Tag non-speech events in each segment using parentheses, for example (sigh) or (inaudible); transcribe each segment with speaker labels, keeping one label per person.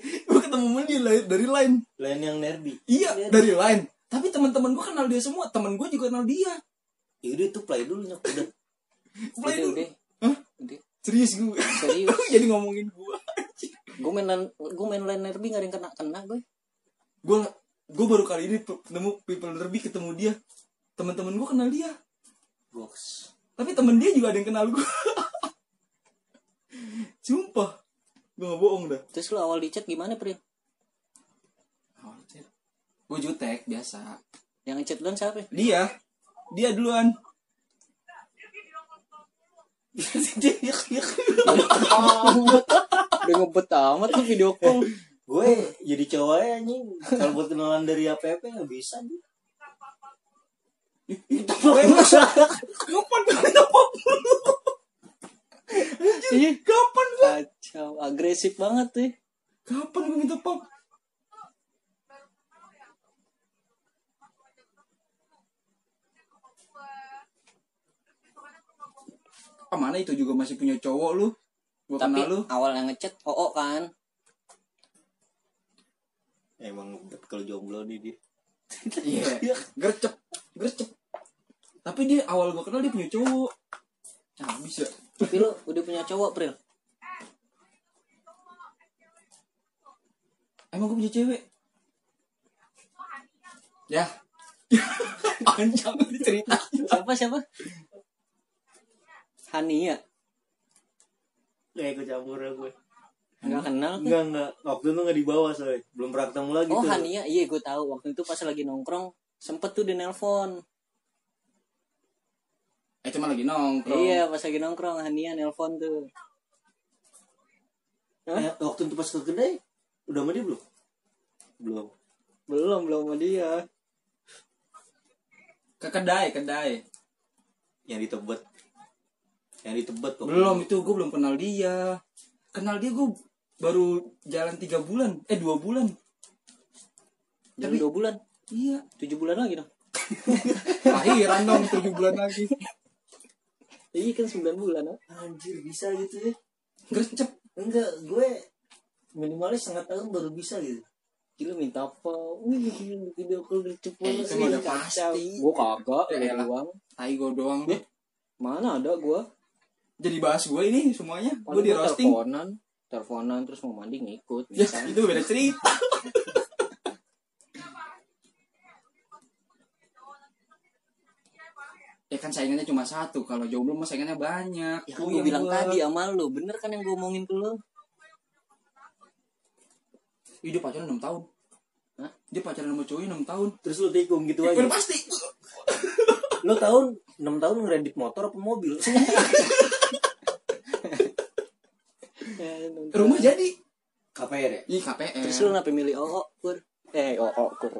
Speaker 1: gue ketemu Muni di lain- dari lain
Speaker 2: Lain yang nerdy.
Speaker 1: iya
Speaker 2: Nerdy.
Speaker 1: dari lain tapi teman-teman gue kenal dia semua teman gue juga kenal dia
Speaker 2: Yaudah Ya itu play dulu nyok udah.
Speaker 1: Play
Speaker 3: Udah,
Speaker 1: dulu.
Speaker 3: udah.
Speaker 1: Hah?
Speaker 3: Udah.
Speaker 1: Iya, serius gue
Speaker 3: Gitu, Serius.
Speaker 1: (laughs) jadi ngomongin gue
Speaker 3: Gue main lan- gue main line nerby gak ada yang kena kena gue.
Speaker 1: gue gue baru kali ini pe- nemu people derby ketemu dia teman-teman gue kenal dia
Speaker 2: Box.
Speaker 1: tapi temen dia juga ada yang kenal gue (laughs) sumpah gue gak bohong dah
Speaker 3: Terus lu awal di chat gimana Pri?
Speaker 1: gue jutek biasa
Speaker 3: Yang ngechat duluan
Speaker 1: (laughs)
Speaker 3: siapa?
Speaker 1: dia dia duluan (laughs)
Speaker 3: Udah ngebet amat lu video call.
Speaker 2: Gue jadi cowok aja anjing. Kalau buat kenalan dari APP nggak bisa nih.
Speaker 1: kapan kita pop
Speaker 3: Iya.
Speaker 1: kapan gue
Speaker 3: Kacau, agresif banget tuh.
Speaker 1: kapan gue minta pop ah mana itu juga masih punya cowok lu gue
Speaker 3: Tapi
Speaker 1: kenal lu
Speaker 3: awal yang ngechat oo kan.
Speaker 2: Ya, Emang ngebet kalau jomblo nih dia.
Speaker 1: Iya. Gercep, gercep. Tapi dia awal gua kenal dia punya cowok. Ah, bisa.
Speaker 3: Tapi lu udah punya cowok, Pril.
Speaker 1: Emang gua punya cewek. Ya. Panjang cerita.
Speaker 3: Siapa siapa? Hania.
Speaker 2: Kayak ikut campur ya gue.
Speaker 3: Enggak kenal. tuh.
Speaker 2: Enggak enggak. Waktu itu nggak dibawa soalnya. Belum pernah ketemu lagi
Speaker 3: Oh,
Speaker 2: tuh.
Speaker 3: Hania. Iya, gue tahu. Waktu itu pas lagi nongkrong sempet tuh di nelpon.
Speaker 1: Eh cuma lagi nongkrong.
Speaker 3: Iya, pas lagi nongkrong Hania nelpon tuh.
Speaker 2: Eh, waktu itu pas ke kedai udah sama dia belum? Belum.
Speaker 3: Belum, belum sama dia.
Speaker 1: Ke kedai, kedai.
Speaker 2: Yang di Tebet. Yang di Tebet kok.
Speaker 1: Belum itu gua belum kenal dia. Kenal dia gua baru jalan tiga bulan, eh dua bulan.
Speaker 3: Dalam
Speaker 1: Tapi-
Speaker 3: dua bulan,
Speaker 1: Iya.
Speaker 3: tujuh bulan lagi dong.
Speaker 1: Lahiran dong tujuh bulan lagi.
Speaker 3: Iya kan sembilan bulan. ah.
Speaker 2: Anjir bisa gitu ya.
Speaker 1: Gercep.
Speaker 2: Enggak, gue minimalnya setengah tahun baru bisa gitu.
Speaker 3: ah. Gila minta apa? Wih, gila, video call gercep banget.
Speaker 1: itu mah
Speaker 3: Ih,
Speaker 1: udah
Speaker 3: kacau.
Speaker 1: pasti.
Speaker 3: Gua kagak,
Speaker 1: Ya
Speaker 3: lu
Speaker 1: elah.
Speaker 3: doang.
Speaker 1: Tai gua doang
Speaker 3: Iya.
Speaker 1: deh.
Speaker 3: Mana ada gua?
Speaker 1: Jadi bahas gua ini semuanya. Gua
Speaker 3: Paling
Speaker 1: di roasting.
Speaker 3: teleponan, teleponan terus mau mandi ngikut.
Speaker 1: Ya,
Speaker 3: Bisa.
Speaker 1: itu beda cerita. ya kan saingannya cuma satu. Kalau jomblo mah saingannya banyak.
Speaker 3: Ya kan
Speaker 1: Lu
Speaker 3: gue
Speaker 1: yang
Speaker 3: bilang
Speaker 1: gua-
Speaker 3: tadi sama lu, bener kan yang gue omongin ke lu?
Speaker 1: Ih, Iya, dia pacaran 6 tahun.
Speaker 3: Hah? Iya,
Speaker 1: Dia pacaran sama cowoknya 6 tahun.
Speaker 2: Terus lu tikung gitu
Speaker 1: Udah
Speaker 2: aja.
Speaker 1: pasti.
Speaker 2: Lu tahun 6 tahun ngerendit motor apa (laughs) mobil?
Speaker 1: Rumah jadi.
Speaker 2: KPR ya?
Speaker 1: Ih, KPR.
Speaker 3: Terus lu kenapa milih OO, Kur? Eh, OO, Kur.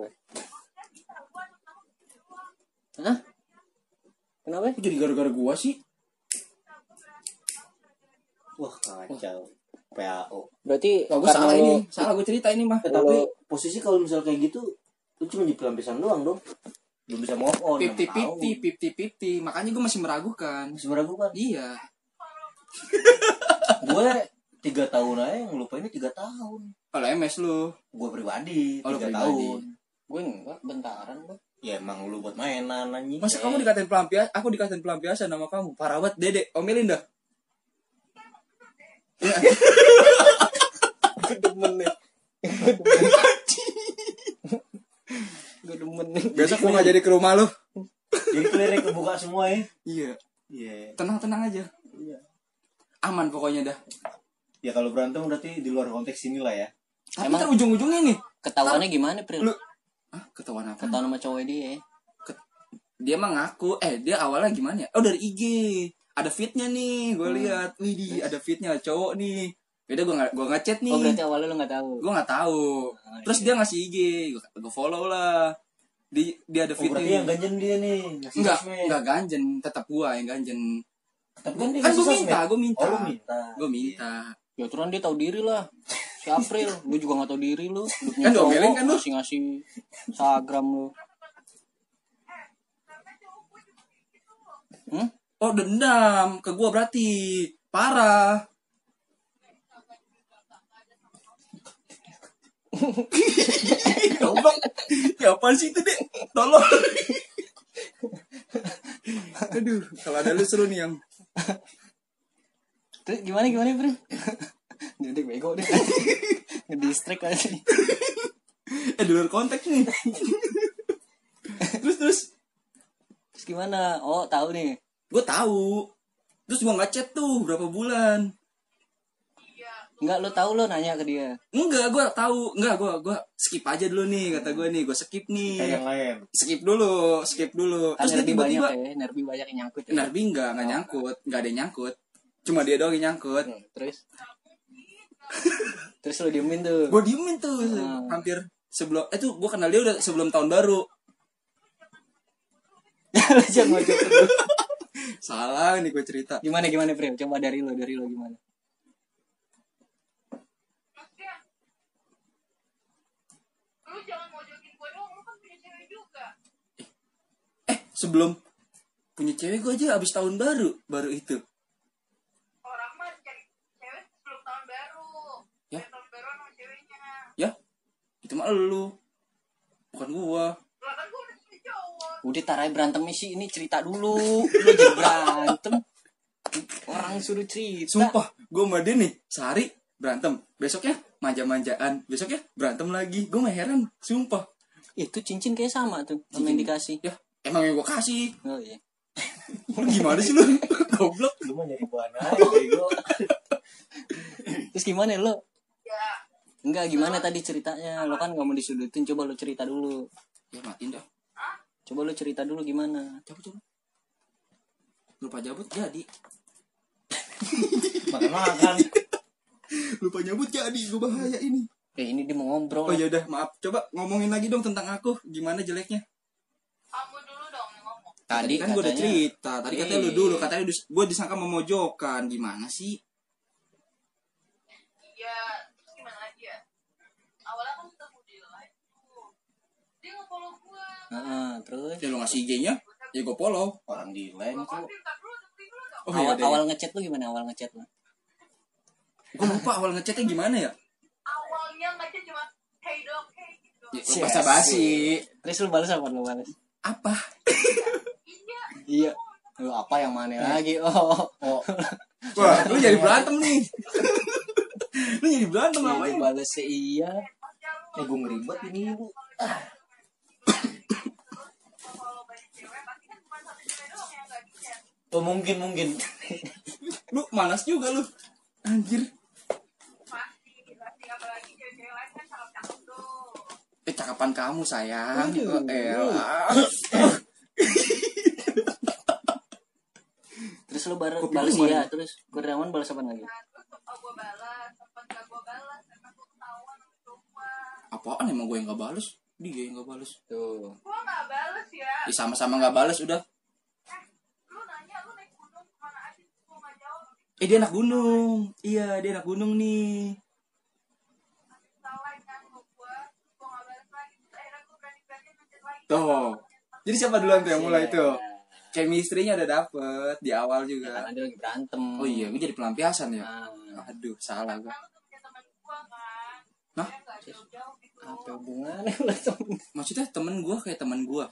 Speaker 3: Hah? Kenapa?
Speaker 1: Kok jadi gara-gara gua sih?
Speaker 2: Wah kacau. PAO.
Speaker 3: Berarti
Speaker 1: Wah, gua
Speaker 3: karena
Speaker 1: salah
Speaker 3: lu-
Speaker 1: ini. Salah gua cerita ini mah.
Speaker 2: Eh, tapi posisi kalau misal kayak gitu lu cuma di pelampiasan doang dong. Belum bisa move on.
Speaker 1: Pipti
Speaker 2: enam tahun.
Speaker 1: pipti pipti piti. Makanya gua masih meragukan.
Speaker 2: Masih meragukan.
Speaker 1: Iya.
Speaker 2: gue 3 tahun aja yang ngelupainnya 3 tahun.
Speaker 1: Kalau MS lu,
Speaker 2: Gue Oh, pribadi
Speaker 1: kalau
Speaker 2: 3
Speaker 1: pribadi.
Speaker 2: tahun.
Speaker 3: Gue enggak, bentaran gue.
Speaker 2: Ya emang lu buat mainan anjing.
Speaker 1: Masa
Speaker 3: Eh.
Speaker 1: kamu dikatain pelampias, aku dikatain pelampiasan sama kamu. Parah banget, Dedek. Omelin dah. Iya.
Speaker 3: Gue demen nih. Gue demen nih.
Speaker 1: Besok gua gak jadi ke rumah lu.
Speaker 2: Jadi kelirik kebuka semua ya.
Speaker 1: Iya.
Speaker 2: Iya.
Speaker 1: Tenang-tenang aja.
Speaker 2: Iya.
Speaker 1: Aman pokoknya dah.
Speaker 2: Ya kalau berantem berarti di luar konteks inilah ya.
Speaker 1: Tapi
Speaker 3: Emang-
Speaker 1: ntar ujung-ujungnya nih.
Speaker 3: Ketahuannya gimana, Pril?
Speaker 1: Lu- Hah? Ketahuan apa?
Speaker 3: Ketahuan sama cowok dia ya.
Speaker 1: Dia mah ngaku. Eh, dia awalnya gimana ya? Oh, dari IG. Ada fitnya nih.
Speaker 2: Hmm.
Speaker 1: Gue lihat. Widih, ada fitnya cowok nih. Beda gue gak, gua ngechat nih.
Speaker 3: Oh, berarti awalnya lu gak tahu.
Speaker 1: Gue gak tahu.
Speaker 2: Ah,
Speaker 1: Terus dia ngasih IG. Gue follow lah. Dia, dia ada
Speaker 2: Oh, berarti yang
Speaker 1: fitnya.
Speaker 2: ganjen dia nih. Ngasih
Speaker 1: Enggak,
Speaker 2: sosmed.
Speaker 1: enggak ganjen, tetap gua yang ganjen.
Speaker 2: Tapi kan dia
Speaker 1: Kan
Speaker 2: ngasih
Speaker 1: gua minta,
Speaker 2: sosmed.
Speaker 1: gua minta.
Speaker 2: Oh, lu minta.
Speaker 1: Gua minta.
Speaker 3: Ya turun dia tahu diri lah. Si April, lu juga gak tahu diri lu. Lu punya
Speaker 1: Kan
Speaker 3: cowok,
Speaker 1: diomelin kan lu?
Speaker 3: Ngasih-ngasih Instagram lu. Hmm?
Speaker 1: Oh, dendam ke gua berarti. Parah. (laughs) Goblok. Ya apaan sih itu, Dek? Tolong. Aduh, kalau ada lu seru nih yang
Speaker 3: Terus gimana gimana (laughs) Prim? Jadi bego deh. (laughs) Ngedistract aja.
Speaker 1: eh di luar konteks nih. terus terus
Speaker 3: Terus gimana? Oh, tahu nih.
Speaker 1: gue tahu. Terus gua nggak chat tuh berapa bulan.
Speaker 3: Enggak lo tahu lo nanya ke dia.
Speaker 1: Enggak, gua tahu. Enggak, gua gua skip aja dulu nih kata gua nih, gua skip
Speaker 2: kayak yang
Speaker 1: nih.
Speaker 2: lain
Speaker 1: Skip dulu, skip dulu.
Speaker 3: Kan
Speaker 1: Terus dia
Speaker 3: nerbi banyak
Speaker 1: tiba-tiba Nah.
Speaker 3: ya, nerbi banyak yang nyangkut ya.
Speaker 1: Narbi enggak, enggak nyangkut, enggak ada yang nyangkut. Cuma dia doang yang nyangkut.
Speaker 3: Hmm, Terus Terus lo diemin tuh. (laughs)
Speaker 1: gue diemin tuh
Speaker 3: Hmm.
Speaker 1: hampir sebelum eh tuh gue kenal dia udah sebelum tahun baru
Speaker 3: Lo jangan ngocok dulu.
Speaker 1: salah nih gue cerita
Speaker 3: Gimana gimana Prim? Coba dari lo, dari lo gimana?
Speaker 4: lu jangan mojokin gue dong lu kan punya cewek juga
Speaker 1: eh sebelum punya cewek gue aja abis tahun baru baru itu
Speaker 4: orang mah cari cewek sebelum tahun baru
Speaker 1: Ya.
Speaker 4: Sebelum tahun baru sama ceweknya
Speaker 1: ya itu mah lu bukan gua
Speaker 4: lah kan gue udah punya cowok
Speaker 3: Udah tarai berantem sih ini cerita dulu. Lo jadi berantem. Orang suruh cerita.
Speaker 1: sumpah gue sama dia nih sehari berantem besoknya manja-manjaan besoknya berantem lagi gue mah heran sumpah
Speaker 3: Itu Eh, cincin kayak sama tuh. Sama yang dikasih.
Speaker 1: ya emang yang gue kasih
Speaker 3: Oh iya.
Speaker 1: lu gimana
Speaker 3: (laughs)
Speaker 1: sih lu goblok
Speaker 2: lu mah nyari bahan aja bego
Speaker 3: Terus gimana lo?
Speaker 4: ya
Speaker 3: Enggak gimana tadi ceritanya? Lo kan nggak mau disudutin, coba lo cerita dulu.
Speaker 1: ya matiin dah
Speaker 3: Coba lo cerita dulu gimana?
Speaker 1: cabut cabut lupa jabut jadi
Speaker 2: makan makan
Speaker 1: lupa nyabut jadi gue bahaya ini
Speaker 3: Eh ini dia
Speaker 1: Oh
Speaker 3: mau ngobrol.
Speaker 1: ya udah maaf. Coba ngomongin lagi dong tentang aku. Gimana jeleknya?
Speaker 4: kamu dulu dong yang ngomong
Speaker 1: Tadi, kan gue udah
Speaker 3: katanya-
Speaker 1: cerita. Tadi katanya lu
Speaker 3: Iya.
Speaker 1: dulu. Katanya gue disangka memojokkan. Gimana sih?
Speaker 4: iya terus gimana lagi ya awalnya kan ketemu dia lagi tuh dia nge-follow gue
Speaker 3: Heeh, terus
Speaker 1: Ya lu ngasih IG-nya. Ya gue follow.
Speaker 2: orang di lain
Speaker 4: gue
Speaker 2: kok
Speaker 4: konfirm tak dulu tapi dulu dong
Speaker 1: Oh
Speaker 3: awal
Speaker 1: iya
Speaker 3: awal
Speaker 1: deh.
Speaker 3: ngechat lu gimana awal ngechat lu?
Speaker 1: Gue lupa awal ngechatnya gimana ya?
Speaker 4: awalnya ngajak cuma hey dong hey gitu
Speaker 1: ya
Speaker 3: Si-
Speaker 1: bahasa basi.
Speaker 3: Terus lu balas apa lu balas?
Speaker 1: Apa?
Speaker 3: Iya.
Speaker 4: iya
Speaker 3: Lu apa yang
Speaker 1: Iya.
Speaker 3: mana lagi? Oh.
Speaker 2: oh
Speaker 1: Wah, lu jadi berantem nih. (laughs) lu jadi berantem
Speaker 3: Iya,
Speaker 1: apa
Speaker 3: lu
Speaker 1: ya?
Speaker 3: balas sih iya.
Speaker 4: ya lu
Speaker 2: eh gue ngeribet ini bu
Speaker 4: kalau banyak cewek pasti kan cuma satu cewek doang yang gak di chat
Speaker 2: oh mungkin mungkin
Speaker 1: Lu malas juga lu. Anjir.
Speaker 4: pasti pasti apalagi cewek-cewek lain kan salah cakep tuh
Speaker 1: Eh cakapan kamu sayang.
Speaker 3: Waduh.
Speaker 1: Oh, elah.
Speaker 3: Terus lu baru
Speaker 1: Kopi
Speaker 3: balas
Speaker 1: lu
Speaker 3: iya,
Speaker 1: mana?
Speaker 3: terus Kurniawan balas apa lagi?
Speaker 4: Nah, terus oh, gue balas, sempat gak gue balas, karena gue ketahuan sama Jomba.
Speaker 1: (laughs) Apaan emang gue yang gak bales? Dia yang gak bales.
Speaker 3: Tuh.
Speaker 4: Gue gak balas ya.
Speaker 1: Ya sama-sama gak bales udah.
Speaker 4: Eh, lu nanya, lu naik gunung kemana aja, gue gak jawab, lu
Speaker 1: Eh dia anak gunung. Iya, dia anak gunung nih.
Speaker 4: salah kan sama gue. Gue gak balas lagi, terus akhirnya gue berani-berani ngechat lagi.
Speaker 1: Tuh. Jadi siapa duluan tuh yang mulai tuh?
Speaker 3: Iya.
Speaker 1: Chemistry-nya udah dapet di awal juga.
Speaker 3: Karena dia lagi berantem.
Speaker 1: Oh iya, gue jadi pelampiasan ya.
Speaker 3: Ah,
Speaker 1: Aduh, salah gue.
Speaker 4: Nah, lu tuh punya temen gue kan.
Speaker 1: Hah?
Speaker 4: Dia gak jauh-jauh gitu.
Speaker 3: apa hubungannya (laughs) lu sama-
Speaker 1: Maksudnya temen gue kayak temen gue.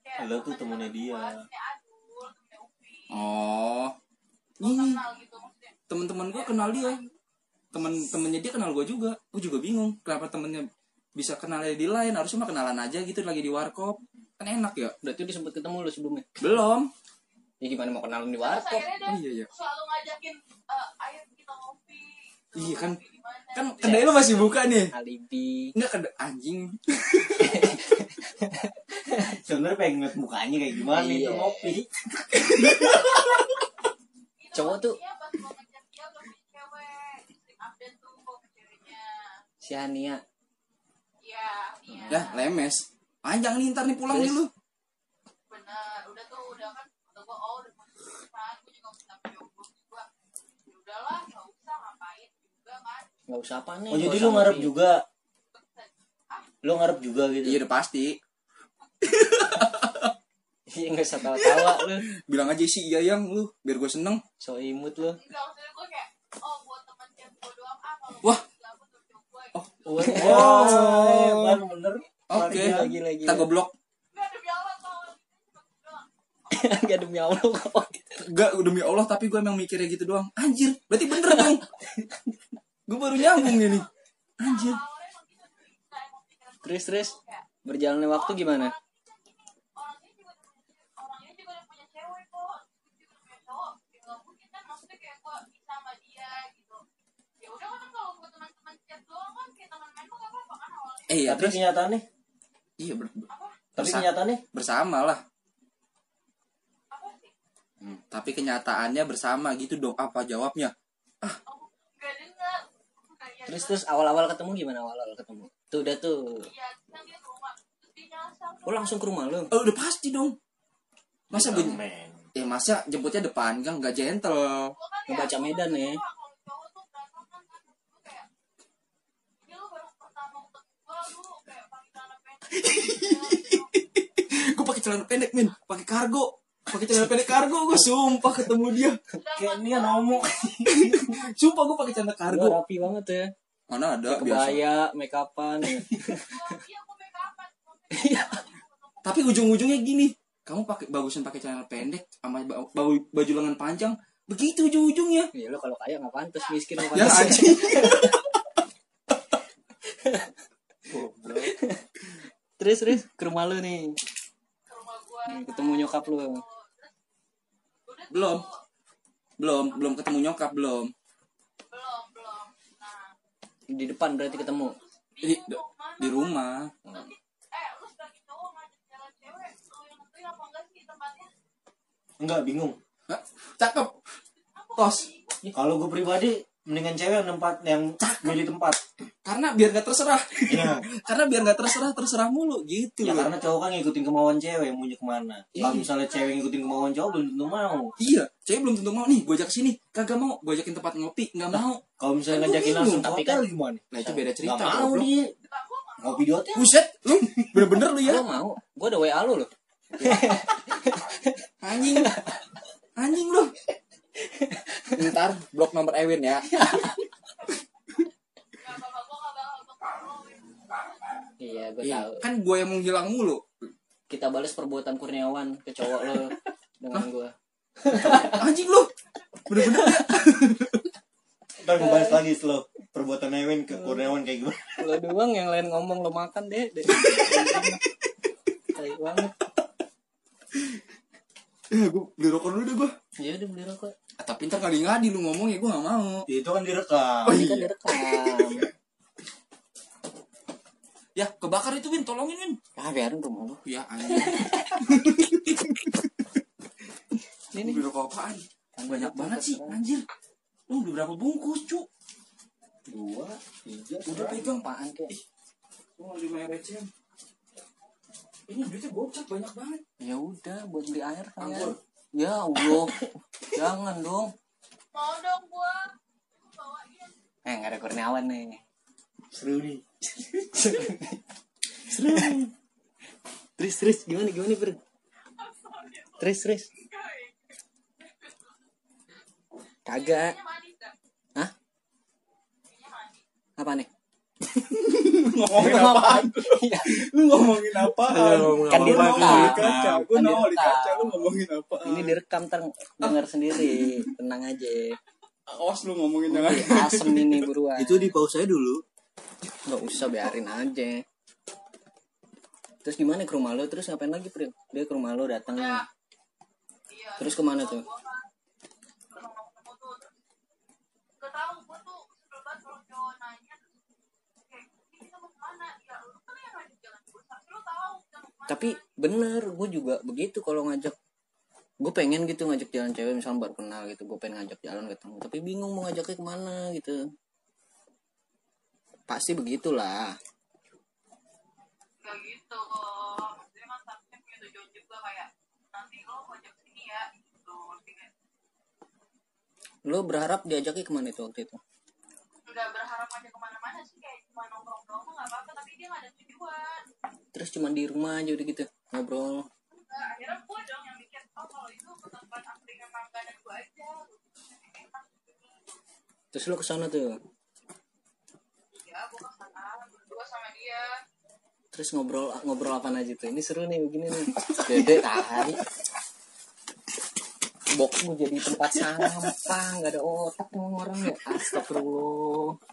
Speaker 4: Kayak
Speaker 2: Lo tuh temennya dia.
Speaker 4: gua, temennya Adul, temennya Upi.
Speaker 1: Oh.
Speaker 4: Gua
Speaker 1: Ini
Speaker 4: kenal gitu, maksudnya.
Speaker 1: temen-temen gue kenal dia. Temen-temennya dia kenal gue juga. Gue juga bingung kenapa temennya bisa kenalnya di lain. Harusnya mah kenalan aja gitu lagi di warkop. Kan enak ya.
Speaker 3: Berarti udah sempet ketemu lu sebelumnya.
Speaker 1: Belum.
Speaker 3: Ya gimana mau kenalan di
Speaker 4: Terus
Speaker 3: warkop?
Speaker 4: akhirnya dia
Speaker 1: Oh iya iya.
Speaker 4: selalu ngajakin, eh, ayo kita ngopi. gitu.
Speaker 1: Iya kan.
Speaker 4: Ngopi di mana.
Speaker 1: Kan kedai lu masih buka nih.
Speaker 3: Alibi.
Speaker 1: Enggak kedai anjing.
Speaker 2: sebenarnya pengen ngeliat mukanya kayak gimana
Speaker 3: Iya.
Speaker 2: itu ngopi
Speaker 4: Itu
Speaker 3: Cowok tuh-
Speaker 4: maksudnya pas gua ngechat dia gua punya cewek Sering update tuh gua ke ceweknya
Speaker 3: Si Hania.
Speaker 4: iya iya
Speaker 1: Dah, lemes. Panjang nih ntar nih pulang nih lu.
Speaker 4: benar udah tuh udah kan kata gua oh udah masuk perusahaan gua juga minta jomblo gua ya udahlah nggak usah ngapain juga kan
Speaker 3: Gak usah apa nih.
Speaker 2: oh jadi
Speaker 3: nggak
Speaker 2: lu
Speaker 3: usah
Speaker 2: ngarep
Speaker 3: ngopi.
Speaker 2: juga lu ngarep juga gitu
Speaker 1: Iya udah pasti.
Speaker 3: Iya gak usah tawa-tawa (laughs) lu.
Speaker 1: bilang aja sih iya yang lu biar gue seneng
Speaker 3: So imut lu.
Speaker 4: enggak maksudnya gua kayak oh buat teman chat gua doang ah kalau
Speaker 1: Wah.
Speaker 4: gua nggak butuh jomblo
Speaker 1: Oh.
Speaker 3: Waduh.
Speaker 1: oh kita goblok
Speaker 4: Nggak, demi Allah kalau gitu cuma gitu doang.
Speaker 3: Gak Iya, demi Allah kok gitu.
Speaker 1: Gak demi Allah tapi gue emang mikirnya gitu doang Anjir berarti bener dong Gue baru nyambung ini Anjir
Speaker 4: Awalnya emang gitu, nggak emang pikiran gue
Speaker 3: Terus terus
Speaker 4: kayak,
Speaker 3: berjalannya waktu gimana?
Speaker 4: orang ini kan gini, orang ini juga udah punya- orang ini juga udah punya cewek kok, gitu, juga udah punya cowok. Ya, nggak mungkin kan, maksudnya kayak gue bisa sama dia, gitu. Ya udah kan kalau gue teman-teman chat doang kan, kayak teman main mah nggak apa-apa kan awalnya.
Speaker 1: Eh ya
Speaker 2: tapi
Speaker 1: terus
Speaker 2: kenyataannya
Speaker 1: Iya ber- ber-
Speaker 2: tapi
Speaker 1: Masa?
Speaker 2: kenyataannya
Speaker 1: bersama lah
Speaker 4: Apa sih?
Speaker 1: Tapi kenyataannya bersama gitu dong Apa jawabnya
Speaker 4: Oh, nggak dengar. Nah, iya,
Speaker 3: Terus terus awal-awal ketemu gimana awal-awal ketemu? Tuh udah tuh.
Speaker 4: Iya, terus kan dia ke rumah. Terus dia nyasar.
Speaker 3: Oh langsung ke rumah lu.
Speaker 1: Oh udah pasti dong Masa gue
Speaker 2: men
Speaker 1: Ya masa jemputnya depan gang gak gentle
Speaker 4: Gua kan ya,
Speaker 3: Ngebaca
Speaker 4: gua
Speaker 3: Medan
Speaker 4: kan
Speaker 3: ya.
Speaker 4: suka kalau cowok tuh berantakan kan. Gua kayak, ini lu baru pertama ketemu gua, lu kayak pakai celana
Speaker 3: (laughs)
Speaker 4: pendek.
Speaker 1: Gue pakai celana pendek min pakai kargo pakai celana pendek kargo gue sumpah ketemu dia
Speaker 2: kayak ini kan homo
Speaker 1: Sumpah gue pakai celana
Speaker 3: Gua
Speaker 1: kargo
Speaker 3: rapi banget ya.
Speaker 1: Mana ada biasa
Speaker 3: Kebaya, make upan. ya.
Speaker 4: Iya, gua make upan. Gua make
Speaker 3: Iya.
Speaker 1: tapi ujung-ujungnya gini kamu pakai bagusan pakai celana pendek sama ba- bau- baju lengan panjang begitu ujung-ujungnya
Speaker 3: Ya lo kalau kaya nggak pantas miskin nggak
Speaker 1: (laughs) ya
Speaker 3: pantas.
Speaker 1: anjing
Speaker 3: Terus terus ke rumah lu nih.
Speaker 4: ke rumah gua.
Speaker 3: Nih, ketemu nyokap lu.
Speaker 4: Udah tuh,
Speaker 1: Belum. belum belum ketemu nyokap belum
Speaker 4: Belum, belum. Nah,
Speaker 3: Di depan berarti ketemu.
Speaker 1: di,
Speaker 4: bingung mau
Speaker 1: di
Speaker 4: kemana.
Speaker 1: rumah
Speaker 4: Tapi, eh, lu sebagai cowok ngajak jalan cewek, lu yang nentuin apa enggak sih tempatnya?
Speaker 2: enggak bingung
Speaker 1: Hah? cakep tos
Speaker 2: kalau gue pribadi mendingan cewek yang tempat yang milih tempat
Speaker 1: karena biar gak terserah (laughs)
Speaker 2: ya,
Speaker 1: karena biar gak terserah terserah mulu gitu
Speaker 2: ya
Speaker 1: loh.
Speaker 2: karena cowok kan ngikutin kemauan cewek maunya kemana kalau
Speaker 1: Iya.
Speaker 2: misalnya cewek ngikutin kemauan cowok belum tentu mau
Speaker 1: iya cewek belum tentu mau nih gue ajak sini kagak mau gue ajakin tempat ngopi nggak mau
Speaker 2: kalau misalnya
Speaker 1: Kan gua
Speaker 2: ngajakin
Speaker 1: bingung,
Speaker 2: langsung ke
Speaker 3: tapi
Speaker 2: hotel gimana
Speaker 1: nah itu beda cerita
Speaker 2: nggak mau
Speaker 1: goblok.
Speaker 2: dia
Speaker 4: Nah, gua mau.
Speaker 2: ngopi di hotel
Speaker 1: buset lu bener-bener lu ya
Speaker 3: Lo mau? Gua ada WA lu loh.
Speaker 1: anjing anjing lu ntar blok nomor Ewin ya
Speaker 4: Nggak apa-apa, gua nggak bakal ketemu.
Speaker 3: Iya gue
Speaker 1: Iya,
Speaker 3: tahu.
Speaker 1: kan gue yang menghilang mulu.
Speaker 3: Kita balas perbuatan Kurniawan ke cowok lo
Speaker 1: (laughs)
Speaker 3: dengan gua.
Speaker 1: Anjing lu. Bener-bener ya.
Speaker 2: ntar gue bahas lagi setelah perbuatan Ewin ke Kurniawan kayak gimana
Speaker 3: Lo doang yang lain ngomong lo makan deh. deh. Tai banget.
Speaker 1: Eh, gue beli rokok dulu deh gue.
Speaker 3: Ya udah beli rokok.
Speaker 1: tapi ntar kali ngadi lu ngomong ya gue gak mau.
Speaker 2: itu kan direkam
Speaker 1: Oh,
Speaker 3: Ini kan
Speaker 1: iya.
Speaker 3: direkam.
Speaker 1: Ya, kebakar itu Win, tolongin Win.
Speaker 3: Ah biarin rumah lu.
Speaker 1: Ya anjing.
Speaker 3: Ini
Speaker 1: Ini
Speaker 3: nih.
Speaker 1: beli rokok apaan? Banyak banget sih, anjir. Lu udah berapa bungkus, Cuk?
Speaker 2: dua tiga
Speaker 1: Udah
Speaker 2: serang.
Speaker 1: pegang, Pak.
Speaker 3: Apaan kek?
Speaker 1: Lu mau lima receh. Ini duitnya gocap banyak banget.
Speaker 3: Ya udah buat beli air kan.
Speaker 1: Anggur.
Speaker 3: Ya Allah. Jangan dong.
Speaker 4: Mau dong gua. Gua bawain.
Speaker 3: Eh nggak ada Kurniawan nih.
Speaker 2: seru nih
Speaker 3: Seru. Tris Tris gimana gimana bro? Tris Tris. Kagak.
Speaker 4: Kayaknya manis dah.
Speaker 3: Hah?
Speaker 4: Kayaknya manis.
Speaker 3: Apa nih?
Speaker 1: ngomongin apaan?
Speaker 3: Iya.
Speaker 1: (laughs) Lu ngomongin Iya. apaan?
Speaker 3: Kan dia
Speaker 1: Lu
Speaker 3: rekam.
Speaker 1: nongol di kaca. Gue
Speaker 3: Kan dia
Speaker 1: nongol di kaca.
Speaker 3: rekam.
Speaker 1: Lu ngomongin apaan?
Speaker 3: Ini direkam ntar denger sendiri. Tenang aja.
Speaker 1: Awas lu ngomongin jangan.
Speaker 3: Asem ini buruan.
Speaker 2: di pause saya dulu
Speaker 3: nggak usah biarin aja. Terus gimana ke rumah lo? Terus ngapain lagi, Prim? Dia ke rumah lo datang.
Speaker 4: Ya. Iya.
Speaker 3: Terus kemana tuh?
Speaker 4: Gua kan pernah mau ketemu tuh. Gak tau, gua tuh sebel banget kalau cowok nanya. Kayak, ini kita mau kemana? Ya, lu kan yang ngajak jalan gua. Tapi lu tahu kita mau kemana.
Speaker 3: Tapi bener, gue juga begitu kalau ngajak. Gue pengen gitu ngajak jalan cewek, misalnya baru kenal gitu. Gue pengen ngajak jalan ketemu. Tapi bingung mau ngajaknya kemana gitu. Pasti begitulah.
Speaker 4: Gak gitu. Maksudnya kan seharusnya punya tujuan juga kayak, nanti lo ngajak sini ya. Gitu. Ngerti nggak?
Speaker 3: Lo berharap diajaknya kemana itu waktu itu?
Speaker 4: Nggak berharap ngajak kemana-mana sih. Kayak cuma nongkrong doang mah nggak apa-apa. Tapi dia nggak ada tujuan.
Speaker 3: Terus cuman di rumah aja udah gitu. Ngobrol.
Speaker 4: Nah, akhirnya gue dong yang mikir oh kalau itu ke tempat angkringan mangga dan gue aja gitu. enak
Speaker 3: Terus lo kesana tuh.
Speaker 4: iya, ya gue kesana berdua sama dia
Speaker 3: terus ngobrol ngobrol apa aja tuh ini seru nih begini nih kan? dede tahan bokmu jadi tempat sampah nggak ada otak emang orang ya astagfirullah